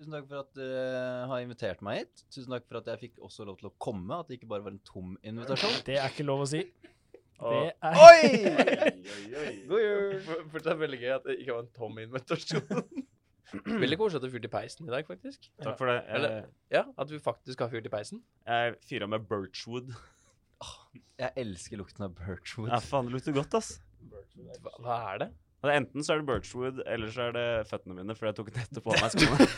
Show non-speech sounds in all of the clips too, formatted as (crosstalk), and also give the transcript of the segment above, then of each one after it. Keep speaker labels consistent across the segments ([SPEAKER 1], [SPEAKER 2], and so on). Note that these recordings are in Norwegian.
[SPEAKER 1] Tusen takk for at dere har invitert meg hit. Tusen takk for at jeg fikk også lov til å komme, at det ikke bare var en tom invitasjon.
[SPEAKER 2] Det er ikke lov å si. Det
[SPEAKER 1] Og-
[SPEAKER 2] er
[SPEAKER 1] Oi! God jul!
[SPEAKER 3] Fortsatt veldig gøy at det ikke var en tom invitasjon. (clears throat) Veldig koselig at du fyrte i peisen i dag, faktisk.
[SPEAKER 4] Takk for det.
[SPEAKER 3] Eller-
[SPEAKER 4] Jeg,
[SPEAKER 3] Ja, At du faktisk har fyrt i peisen.
[SPEAKER 4] jeg fyra med birchwood.
[SPEAKER 1] (laughs) Jeg elsker lukten av birchwood.
[SPEAKER 4] Ja, faen, det lukter godt, ass.
[SPEAKER 3] Hva, hva er det?
[SPEAKER 4] Men enten så er det birchwood, eller så er det føttene mine, for jeg tok nettopp av meg skoene.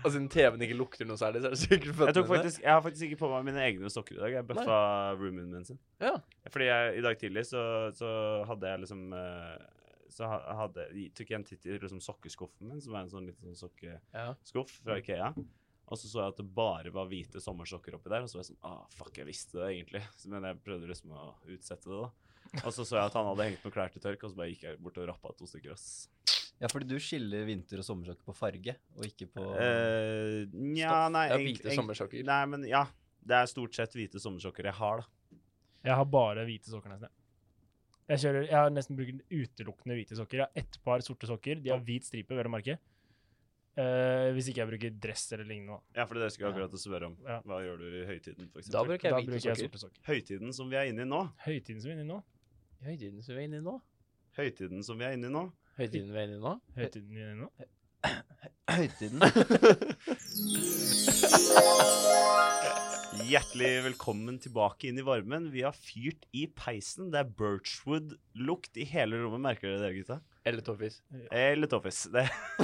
[SPEAKER 3] Og siden TV-en ikke lukter noe særlig, så er det sikkert føttene
[SPEAKER 4] Jeg, tok faktisk, jeg har faktisk ikke på meg mine egne sokker i dag. Jeg bøffa roomien min sin.
[SPEAKER 3] Ja.
[SPEAKER 4] Fordi jeg, i dag tidlig så, så hadde jeg liksom eh, Så ha- hadde, tok jeg en titt i liksom sokkeskuffen min, som er en sånn liten sånn sokkeskuff
[SPEAKER 3] Ja.
[SPEAKER 4] fra Ikea. Og så så jeg at det bare var hvite sommersokker oppi der. Og så var jeg sånn ah, Fuck, jeg visste det egentlig. (laughs) Så- Men jeg prøvde liksom å utsette det, da. Og så så jeg at han hadde hengt noen klær til tørk, og så bare gikk jeg bort og rappa to stykker. ass.
[SPEAKER 1] Ja, fordi du skiller vinter- og sommersokker på farge, og ikke på
[SPEAKER 4] Eh, nja,
[SPEAKER 3] Stoff.
[SPEAKER 4] nei
[SPEAKER 3] Ja,
[SPEAKER 4] egentlig-
[SPEAKER 3] hvite sommersokker.
[SPEAKER 4] Nei, men ja. Det er stort sett hvite sommersokker jeg har, da.
[SPEAKER 2] Jeg har bare hvite sokker, nesten. jeg. Jeg, kjører, jeg har nesten brukt utelukkende hvite sokker. Jeg har ett par sorte sokker. De har hvit stripe, vel å merke. Eh, hvis ikke jeg bruker dress eller lignende. da.
[SPEAKER 4] Ja, for det skulle jeg akkurat å spørre om.
[SPEAKER 2] Ja.
[SPEAKER 4] Hva gjør du i høytiden, for
[SPEAKER 3] Da
[SPEAKER 4] eksempel?
[SPEAKER 3] bruker jeg
[SPEAKER 2] da
[SPEAKER 3] hvite
[SPEAKER 2] bruker jeg
[SPEAKER 3] sokker.
[SPEAKER 2] sorte sokker.
[SPEAKER 4] Høytiden som vi er inne i nå,
[SPEAKER 2] Høytiden som vi er inne i nå.
[SPEAKER 3] Høytiden som vi er inne i nå.
[SPEAKER 4] høytiden som vi er inne i nå,
[SPEAKER 3] Høytiden vi er inne i nå.
[SPEAKER 2] Høytiden vi er inne
[SPEAKER 3] (laughs)
[SPEAKER 2] i nå.
[SPEAKER 1] (clears throat) høytiden.
[SPEAKER 4] hjertelig velkommen tilbake inn i varmen. Vi har fyrt i peisen. Det er birchwood-lukt i hele rommet, merker dere det, gutta?
[SPEAKER 3] Eller toffis.
[SPEAKER 4] Eller toffis. Det,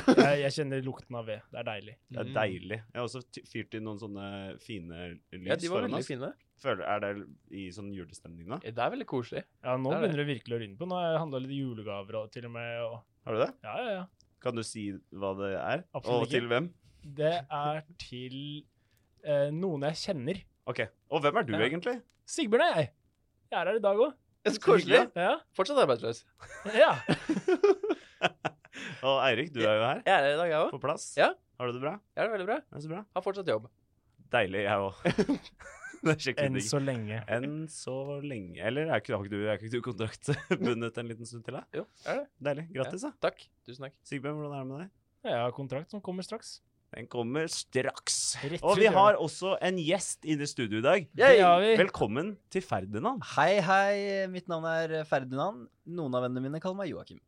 [SPEAKER 2] Jeg, jeg kjenner lukten av ved. Det er deilig.
[SPEAKER 4] det er
[SPEAKER 3] Mm.
[SPEAKER 4] deilig. Jeg har også ty- fyrt i noen sånne fine lys
[SPEAKER 3] Ja, de var
[SPEAKER 4] foran
[SPEAKER 3] veldig
[SPEAKER 4] oss.
[SPEAKER 3] fine.
[SPEAKER 4] Føler, er det i sånn julestemning nå?
[SPEAKER 3] Ja, Det er veldig koselig.
[SPEAKER 2] Ja, nå
[SPEAKER 3] Det er det.
[SPEAKER 2] begynner det virkelig å rynne på. Nå har jeg handla litt julegaver og til og med. Og
[SPEAKER 4] Har du det?
[SPEAKER 2] ja, ja, ja.
[SPEAKER 4] Kan du si hva det er?
[SPEAKER 2] Absolutt
[SPEAKER 4] Og
[SPEAKER 2] ikke.
[SPEAKER 4] til hvem?
[SPEAKER 2] Det er til eh, noen jeg kjenner.
[SPEAKER 4] Ok. Og hvem er du,
[SPEAKER 3] Ja.
[SPEAKER 4] egentlig?
[SPEAKER 2] Sigbjørn er jeg. Jeg er her i dag òg.
[SPEAKER 3] Så koselig.
[SPEAKER 2] Ja.
[SPEAKER 3] Fortsatt arbeidsløs.
[SPEAKER 2] ja.
[SPEAKER 4] Og Eirik, du er jo her.
[SPEAKER 3] Jeg er her i dag, jeg òg.
[SPEAKER 4] På plass.
[SPEAKER 3] Ja.
[SPEAKER 4] Har du det bra?
[SPEAKER 3] Jeg har det veldig bra.
[SPEAKER 4] Det er så bra.
[SPEAKER 3] Har fortsatt jobb.
[SPEAKER 4] Deilig, jeg òg.
[SPEAKER 1] (laughs)
[SPEAKER 4] det er skikkelig
[SPEAKER 2] Enn
[SPEAKER 4] digg.
[SPEAKER 2] så lenge.
[SPEAKER 4] Enn så lenge Eller er ikke, har ikke du, er ikke du (laughs) kontraktbundet en liten stund til? da?
[SPEAKER 3] Jo, er det.
[SPEAKER 4] Deilig. Grattis, da.
[SPEAKER 3] Takk. Tusen takk.
[SPEAKER 4] Sigbjørn, hvordan er det med deg?
[SPEAKER 2] Jeg har kontrakt som kommer straks.
[SPEAKER 4] Den kommer straks.
[SPEAKER 2] Rett
[SPEAKER 4] Og
[SPEAKER 2] ut
[SPEAKER 4] vi
[SPEAKER 2] døren.
[SPEAKER 4] har også en gjest inne i studio i dag.
[SPEAKER 2] Det har vi.
[SPEAKER 4] Velkommen til Ferdinand.
[SPEAKER 1] Hei, hei. Mitt navn er Ferdinand. Noen av vennene mine kaller meg Joakim.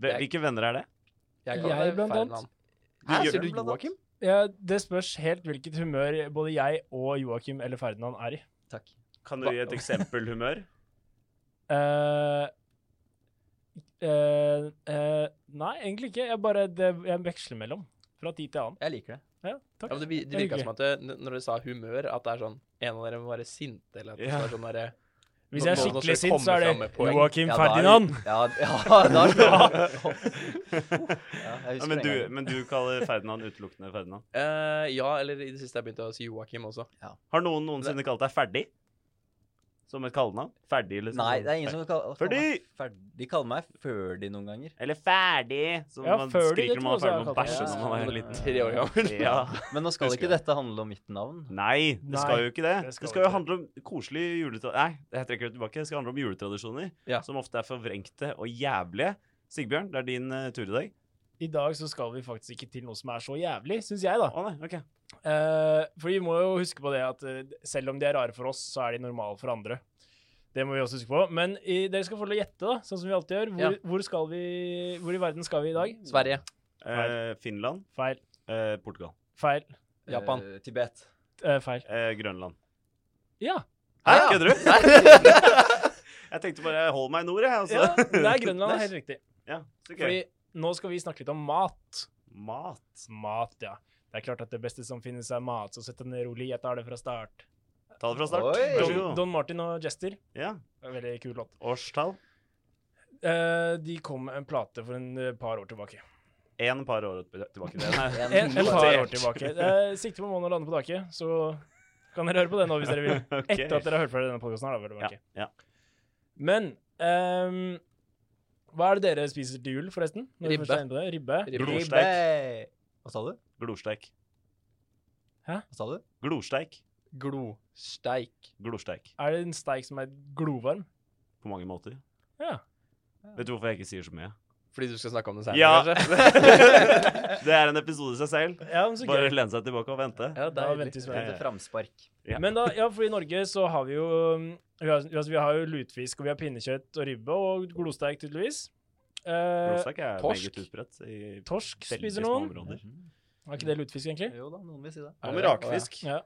[SPEAKER 4] Hvil-
[SPEAKER 3] Jeg-
[SPEAKER 4] Hvilke venner er det?
[SPEAKER 3] Jeg, kaller
[SPEAKER 2] Jeg,
[SPEAKER 3] deg
[SPEAKER 2] blant annet.
[SPEAKER 3] Ferdinand.
[SPEAKER 4] Du
[SPEAKER 3] Hæ,
[SPEAKER 4] gjør-
[SPEAKER 3] sier du
[SPEAKER 1] blant annet.
[SPEAKER 3] Joakim?
[SPEAKER 2] Ja, det spørs helt hvilket humør både jeg og Joakim eller Ferdinand er i.
[SPEAKER 1] Takk.
[SPEAKER 4] Kan du gi et
[SPEAKER 1] (laughs)
[SPEAKER 4] eksempel humør?
[SPEAKER 2] eh eh, eh, nei, egentlig ikke. Jeg bare det, jeg veksler mellom fra tid til annen.
[SPEAKER 1] Jeg liker det.
[SPEAKER 2] Ja, takk.
[SPEAKER 3] Ja, men det vi- det
[SPEAKER 2] Det er
[SPEAKER 3] virka som at det, n- når dere sa humør, at det er sånn En av dere må være sinte, eller at det
[SPEAKER 4] Ja.
[SPEAKER 3] er sånn derre
[SPEAKER 2] Hvis jeg er
[SPEAKER 3] Nå- nå skal
[SPEAKER 2] skikkelig
[SPEAKER 3] det
[SPEAKER 2] sint, så
[SPEAKER 3] komme
[SPEAKER 2] er
[SPEAKER 3] fram med
[SPEAKER 2] det
[SPEAKER 3] poeng.
[SPEAKER 2] Joakim
[SPEAKER 1] Ja, da er vi-
[SPEAKER 2] Ferdinand.
[SPEAKER 1] Ja, ja da slår det.
[SPEAKER 4] (laughs)
[SPEAKER 1] Ja, jeg
[SPEAKER 4] Ja,
[SPEAKER 1] husker
[SPEAKER 4] men,
[SPEAKER 1] den
[SPEAKER 4] du,
[SPEAKER 1] gangen.
[SPEAKER 4] men du kaller Ferdinand utelukkende Ferdinand.
[SPEAKER 3] eh, Ja, eller i det siste jeg begynte å si Joakim også.
[SPEAKER 4] Har noen noensinne kalt deg Ferdig? Som et kallenavn? Ferdig, liksom?
[SPEAKER 1] Nei, det er ingen som kaller, kaller meg
[SPEAKER 4] Fordi-
[SPEAKER 1] Ferdi. De kaller meg Ferdi noen ganger.
[SPEAKER 4] Eller ferdig, som
[SPEAKER 2] Ja,
[SPEAKER 4] man
[SPEAKER 2] ferdig,
[SPEAKER 4] skriker
[SPEAKER 2] det
[SPEAKER 4] når man er
[SPEAKER 2] tror jeg også
[SPEAKER 4] ferdig med å
[SPEAKER 2] jeg
[SPEAKER 4] bæsje
[SPEAKER 1] har kalt det.
[SPEAKER 4] når man er
[SPEAKER 1] Ja.
[SPEAKER 4] liten.
[SPEAKER 3] Tre år
[SPEAKER 4] (laughs)
[SPEAKER 3] gammel.
[SPEAKER 4] Ja.
[SPEAKER 1] Men nå skal
[SPEAKER 4] Husker
[SPEAKER 1] ikke
[SPEAKER 4] jeg.
[SPEAKER 1] dette handle om mitt navn.
[SPEAKER 4] Nei, det skal
[SPEAKER 2] Nei,
[SPEAKER 4] jo ikke det.
[SPEAKER 2] det
[SPEAKER 4] Det
[SPEAKER 2] skal
[SPEAKER 4] skal,
[SPEAKER 2] ikke
[SPEAKER 4] jo
[SPEAKER 2] det.
[SPEAKER 4] handle om koselige juletradisjoner Nei, jeg trekker det tilbake. Det skal handle om juletradisjoner
[SPEAKER 3] Ja.
[SPEAKER 4] som ofte er forvrengte og jævlige. Sigbjørn, det er din eh, tur i dag.
[SPEAKER 2] I dag så skal vi faktisk ikke til noe som er så jævlig, syns jeg, da.
[SPEAKER 4] Å nei, OK.
[SPEAKER 2] Eh, for vi må jo huske på det at eh, selv om de er rare for oss, så er de normale for andre. Det må vi også huske på. Men i, dere skal få lov å gjette, da, sånn som vi alltid gjør. Hvor,
[SPEAKER 3] Ja.
[SPEAKER 2] hvor, skal vi, hvor i verden skal vi i dag?
[SPEAKER 3] Sverige.
[SPEAKER 4] Eh, Finland.
[SPEAKER 2] Feil.
[SPEAKER 4] Eh, Portugal.
[SPEAKER 2] Feil.
[SPEAKER 3] Japan.
[SPEAKER 1] Eh, Tibet.
[SPEAKER 2] eh, feil.
[SPEAKER 4] Eh, Grønland.
[SPEAKER 2] Ja.
[SPEAKER 4] Hæ,
[SPEAKER 3] Ja.
[SPEAKER 4] kødder
[SPEAKER 2] (laughs)
[SPEAKER 4] du? (laughs) jeg tenkte bare hold meg i nord, jeg.
[SPEAKER 2] ja! (laughs)
[SPEAKER 4] Altså.
[SPEAKER 2] Det er Grønland, helt riktig.
[SPEAKER 4] Ja, så gøy.
[SPEAKER 2] Fordi nå skal vi snakke litt om mat.
[SPEAKER 4] Mat.
[SPEAKER 2] Mat, ja. Det er klart at det beste som finnes, er mat. Så sett deg ned rolig, jeg tar det fra start.
[SPEAKER 4] Ta det fra start.
[SPEAKER 1] Oi.
[SPEAKER 4] Vær så
[SPEAKER 2] Don,
[SPEAKER 4] god.
[SPEAKER 2] Don Martin og Jester.
[SPEAKER 4] Ja.
[SPEAKER 2] Veldig kul låt.
[SPEAKER 4] Årstall.
[SPEAKER 2] Eh, de kom med en plate for en eh, par år tilbake.
[SPEAKER 4] En par år
[SPEAKER 2] (laughs)
[SPEAKER 4] tilbake. Den er (laughs)
[SPEAKER 1] En,
[SPEAKER 2] En, en par år
[SPEAKER 4] Notert.
[SPEAKER 2] tilbake. Eh, sikte på månen å lande på taket, så kan dere høre på det nå hvis dere vil.
[SPEAKER 4] (laughs) Ok.
[SPEAKER 2] Etter at dere har hørt ferdig denne podkasten her, da, vel å
[SPEAKER 4] ja,
[SPEAKER 2] merke.
[SPEAKER 4] ja.
[SPEAKER 2] Men ehm, hva er det dere spiser til jul, forresten? Når vi
[SPEAKER 3] Ribbe.
[SPEAKER 2] først er inne på det? Ribbe.
[SPEAKER 3] Ribbe.
[SPEAKER 4] Glorsteik.
[SPEAKER 1] Ribbe. Hva sa du?
[SPEAKER 4] Glorsteik.
[SPEAKER 1] Hva sa du?
[SPEAKER 4] Glorsteik.
[SPEAKER 3] Glosteik.
[SPEAKER 4] Glorsteik.
[SPEAKER 2] Er det en steik som er glovarm?
[SPEAKER 4] På mange måter.
[SPEAKER 2] Ja.
[SPEAKER 4] Vet du hvorfor jeg ikke sier så mye?
[SPEAKER 3] Fordi du skal snakke om det senere,
[SPEAKER 4] Ja.
[SPEAKER 3] kanskje?
[SPEAKER 2] (laughs)
[SPEAKER 4] Det er en episode i seg selv.
[SPEAKER 2] Ja, men så
[SPEAKER 4] Bare
[SPEAKER 2] gøy.
[SPEAKER 4] lene seg tilbake og vente.
[SPEAKER 3] ja,
[SPEAKER 2] Da
[SPEAKER 3] deilig.
[SPEAKER 2] venter vi spent.
[SPEAKER 1] Et lite framspark.
[SPEAKER 4] Ja.
[SPEAKER 2] Men da, ja, for i Norge så har vi jo um, vi har, altså, vi har jo lutfisk, og vi har pinnekjøtt og ribbe, og glosteik tydeligvis. Eh,
[SPEAKER 4] Rosak er
[SPEAKER 3] torsk.
[SPEAKER 4] meget utbredt i
[SPEAKER 2] torsk
[SPEAKER 4] veldig
[SPEAKER 2] spiser
[SPEAKER 4] små
[SPEAKER 2] noen.
[SPEAKER 4] områder.
[SPEAKER 2] Er ikke det lutfisk, egentlig?
[SPEAKER 1] Jo da, noen vil si det.
[SPEAKER 3] Er
[SPEAKER 4] Hva med
[SPEAKER 3] det-
[SPEAKER 4] rakfisk?
[SPEAKER 2] Ja.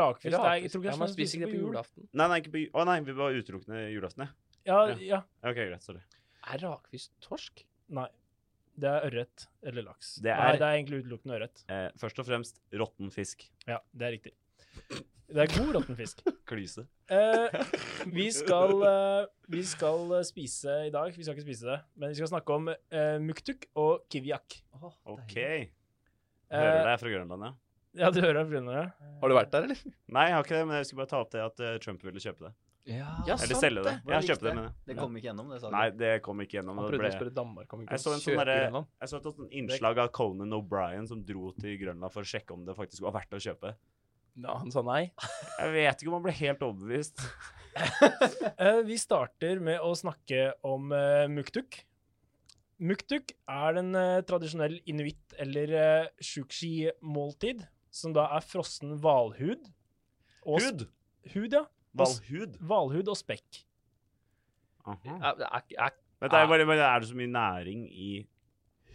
[SPEAKER 2] Rakfisk, det er- jeg tror
[SPEAKER 3] Ja,
[SPEAKER 2] ikke
[SPEAKER 3] man
[SPEAKER 2] det
[SPEAKER 3] spiser ikke det på julaften.
[SPEAKER 4] Nei, nei, ikke på, å nei, vi var utelukkende julaften, ja.
[SPEAKER 2] Ja,
[SPEAKER 4] Ja.
[SPEAKER 2] ja.
[SPEAKER 4] Ok, greit, sorry.
[SPEAKER 3] Er rakfisk torsk?
[SPEAKER 2] Nei. Det er ørret eller laks.
[SPEAKER 4] Det er-
[SPEAKER 2] Nei, det er egentlig utelukkende ørret.
[SPEAKER 4] Eh, først og fremst råtten fisk.
[SPEAKER 2] Ja, det er riktig. Det er god råtten fisk.
[SPEAKER 4] Klyse.
[SPEAKER 2] Eh, vi, skal, eh, vi skal eh, spise i dag Vi skal ikke spise det, men vi skal snakke om eh, muktuk og kiviak.
[SPEAKER 1] Åh,
[SPEAKER 4] Ok.
[SPEAKER 1] deilig.
[SPEAKER 4] Hører
[SPEAKER 2] Eh,
[SPEAKER 4] deg fra Grønland, ja.
[SPEAKER 2] Ja, du hører fra det.
[SPEAKER 3] Har du vært der, eller?
[SPEAKER 4] Nei, jeg har ikke det, men jeg skulle bare ta opp det at eh, Trump ville kjøpe det.
[SPEAKER 1] Ja,
[SPEAKER 4] Eller
[SPEAKER 3] sant
[SPEAKER 4] selge det.
[SPEAKER 1] det.
[SPEAKER 4] Ja,
[SPEAKER 1] Det
[SPEAKER 4] kjøpe det,
[SPEAKER 1] likte
[SPEAKER 4] mener jeg.
[SPEAKER 1] Det kom ikke gjennom, det sa
[SPEAKER 4] Ja.
[SPEAKER 1] du.
[SPEAKER 4] Nei, det kom ikke gjennom.
[SPEAKER 3] Han
[SPEAKER 4] og Det ble...
[SPEAKER 3] prøvde å spørre Danmark om vi
[SPEAKER 4] Jeg så
[SPEAKER 3] kunne
[SPEAKER 4] en sånn
[SPEAKER 3] kjøpe
[SPEAKER 4] derre-
[SPEAKER 3] Grønland.
[SPEAKER 4] Jeg så et sånt innslag av Conan O'Brien som dro til Grønland for å sjekke om det faktisk var verdt å kjøpe.
[SPEAKER 3] Ja, han sa nei.
[SPEAKER 4] Jeg vet ikke om han ble helt overbevist.
[SPEAKER 2] Eh, vi starter med å snakke om eh, muktuk. Muktuk er en eh, tradisjonell inuitt- eller eh, sjukshi-måltid, som da er frossen hvalhud. og sp-
[SPEAKER 4] Hud!
[SPEAKER 2] Hud, ja.
[SPEAKER 4] Valhud.
[SPEAKER 2] Hvalhud og spekk.
[SPEAKER 4] Aha.
[SPEAKER 3] Er, er, er,
[SPEAKER 4] Men det er, bare, men er det så mye næring i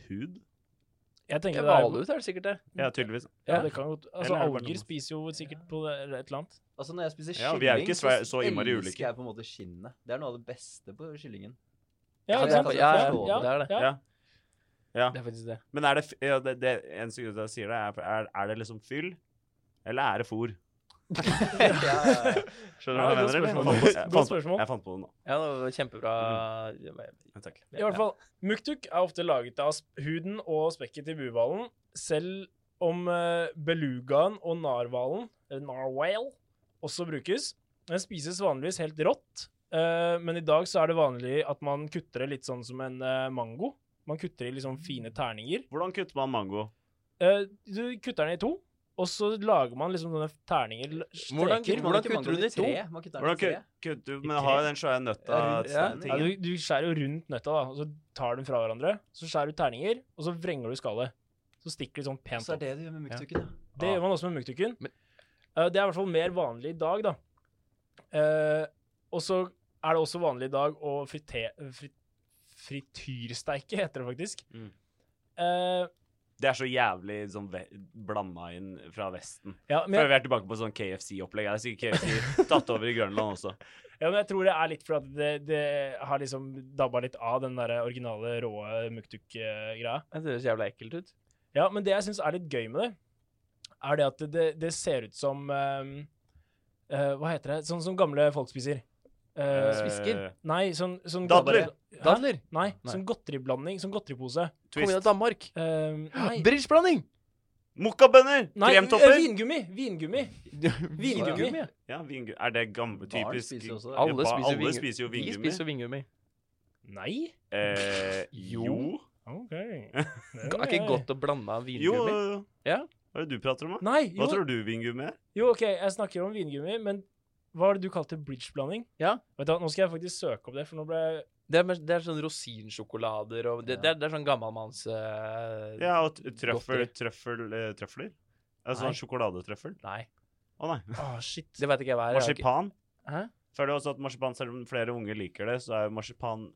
[SPEAKER 4] hud?
[SPEAKER 2] Jeg tenker det er,
[SPEAKER 3] Hvalhud er det sikkert det.
[SPEAKER 4] Ja, tydeligvis.
[SPEAKER 2] ja, det kan godt, altså,
[SPEAKER 4] Eller er det bare
[SPEAKER 2] alger
[SPEAKER 4] noe-
[SPEAKER 2] spiser jo sikkert på det, eller et eller annet.
[SPEAKER 1] Altså Når jeg spiser
[SPEAKER 4] Ja,
[SPEAKER 1] kylling,
[SPEAKER 4] vi er jo ikke så- så innmari
[SPEAKER 1] elsker
[SPEAKER 4] ulike.
[SPEAKER 1] jeg på en måte skinnet. Det er noe av det beste på kyllingen.
[SPEAKER 2] Ja,
[SPEAKER 1] Ja,
[SPEAKER 2] ikke
[SPEAKER 1] det er
[SPEAKER 2] sant?
[SPEAKER 1] faktisk-
[SPEAKER 2] ja,
[SPEAKER 1] det er
[SPEAKER 2] ja,
[SPEAKER 3] det.
[SPEAKER 2] ja.
[SPEAKER 4] Ja. Ja.
[SPEAKER 3] Det er faktisk det.
[SPEAKER 4] Men er det, f- ja, det, det En sekund til jeg sier det, er, er, er det liksom fyll? Eller er det fôr?
[SPEAKER 1] ja, ja, ja.
[SPEAKER 4] Skjønner du hva jeg
[SPEAKER 2] Ja,
[SPEAKER 4] mener?
[SPEAKER 2] godt spørsmål.
[SPEAKER 4] eller? Jeg fant på-
[SPEAKER 2] Godt spørsmål.
[SPEAKER 4] Jeg fant på det nå.
[SPEAKER 3] Ja, det var kjempebra.
[SPEAKER 4] Men Takk.
[SPEAKER 2] (laughs) I hvert fall, muktuk er ofte laget av sp- huden og spekket til buhvalen, selv om eh, belugaen og narhvalen, eller narwhale, også brukes. Den spises vanligvis helt rått, eh, men i dag så er det vanlig at man kutter det litt sånn som en eh, mango. Man kutter i liksom fine terninger.
[SPEAKER 4] Hvordan kutter man mango?
[SPEAKER 2] Eh, du kutter den i to, og så lager man liksom sånne terninger. l-
[SPEAKER 3] Hvordan-
[SPEAKER 2] streker.
[SPEAKER 3] hvordan kutter du den i to?
[SPEAKER 1] Man kutter den i
[SPEAKER 4] Hvordan
[SPEAKER 1] tre.
[SPEAKER 4] kut- kutter du? Men har jo den svære nøtta
[SPEAKER 1] Ja, rundt- ja.
[SPEAKER 2] Ja,
[SPEAKER 4] tingen.
[SPEAKER 2] du, du skjærer jo rundt nøtta, da, og så tar du den fra hverandre. Så skjærer du terninger, og så vrenger du skallet. Så stikker de sånn pent
[SPEAKER 1] Så er
[SPEAKER 2] opp.
[SPEAKER 1] det det du gjør med muktukken, ja.
[SPEAKER 2] Det gjør man også med muktukken.
[SPEAKER 3] Men-
[SPEAKER 2] Eh, det er i hvert fall mer vanlig i dag, da. Eh, og så er det også vanlig i dag å frite, fri, frityrsteike, heter det faktisk.
[SPEAKER 4] Mm.
[SPEAKER 2] Eh,
[SPEAKER 4] Det er så jævlig sånn ve blanda inn fra Vesten.
[SPEAKER 2] ja, men
[SPEAKER 4] Før
[SPEAKER 2] jeg,
[SPEAKER 4] vi er tilbake på sånn KFC-opplegg. Det er sikkert KFC tatt over i Grønland
[SPEAKER 3] (laughs)
[SPEAKER 4] også.
[SPEAKER 2] ja, men jeg tror det er litt fordi det, det har liksom dabba litt av den der originale, råe muktuk-greia.
[SPEAKER 3] Det høres jævla ekkelt ut.
[SPEAKER 2] Ja, men det jeg syns er litt gøy med det, er det at det, det, det ser ut som ehm, eh, Hva heter det? Sånn som gamle folk spiser. Eh,
[SPEAKER 4] Eh,
[SPEAKER 3] Svisker.
[SPEAKER 2] nei, sånn, sånn
[SPEAKER 4] Dadler.
[SPEAKER 2] godteri- Hæ?
[SPEAKER 3] Dadler!
[SPEAKER 2] Nei,
[SPEAKER 3] Nei.
[SPEAKER 2] sånn godteriblanding. Sånn godteripose.
[SPEAKER 3] Kom inn av
[SPEAKER 4] Twist.
[SPEAKER 3] Danmark!
[SPEAKER 2] Ehm, nei,
[SPEAKER 3] Bridgeblanding!
[SPEAKER 4] Mokkabønner!
[SPEAKER 2] nei
[SPEAKER 4] Kremtopper!
[SPEAKER 2] eh, vingummi! Vingummi!
[SPEAKER 3] (laughs)
[SPEAKER 2] Vingummi.
[SPEAKER 4] Ja, vingummi. Er det gamle,
[SPEAKER 1] Barn
[SPEAKER 4] typisk
[SPEAKER 1] spiser også det.
[SPEAKER 4] Ja,
[SPEAKER 3] Alle
[SPEAKER 4] ba-
[SPEAKER 3] spiser
[SPEAKER 4] alle
[SPEAKER 3] vingummi.
[SPEAKER 4] spiser jo
[SPEAKER 3] Vi
[SPEAKER 4] vingummi.
[SPEAKER 3] spiser jo vingummi.
[SPEAKER 2] Nei?
[SPEAKER 3] (laughs)
[SPEAKER 4] Eh, jo.
[SPEAKER 2] OK.
[SPEAKER 3] Det Er ikke godt å blande av
[SPEAKER 4] Jo, jo,
[SPEAKER 3] vingummi?
[SPEAKER 4] jo.
[SPEAKER 3] Ja.
[SPEAKER 4] Hva er det du prater om, da?
[SPEAKER 2] Nei,
[SPEAKER 4] Hva
[SPEAKER 2] jo,
[SPEAKER 4] tror du vingummi er?
[SPEAKER 2] jo, OK, jeg snakker om vingummi, men hva var det du kalte bridgeblanding?
[SPEAKER 3] Ja.
[SPEAKER 2] Vet du, hva, nå skal jeg faktisk søke opp det, for nå ble jeg
[SPEAKER 3] Det er, mer- det er sånn rosinsjokolader og det,
[SPEAKER 1] Ja.
[SPEAKER 3] det, er, det er sånn gammalmanns eh,
[SPEAKER 4] Ja, og t- trøffel,
[SPEAKER 3] Godteri.
[SPEAKER 4] trøffel, eh, trøfler? Altså
[SPEAKER 3] Nei.
[SPEAKER 4] sånn sjokoladetrøffel?
[SPEAKER 3] Nei.
[SPEAKER 4] Å nei.
[SPEAKER 2] Å, Ah, shit.
[SPEAKER 3] Det veit ikke jeg hva er. Jeg har ikke-
[SPEAKER 4] Marsipan?
[SPEAKER 3] Hæ?
[SPEAKER 4] Føler du også at marsipan, selv om flere unge liker det, så er jo marsipan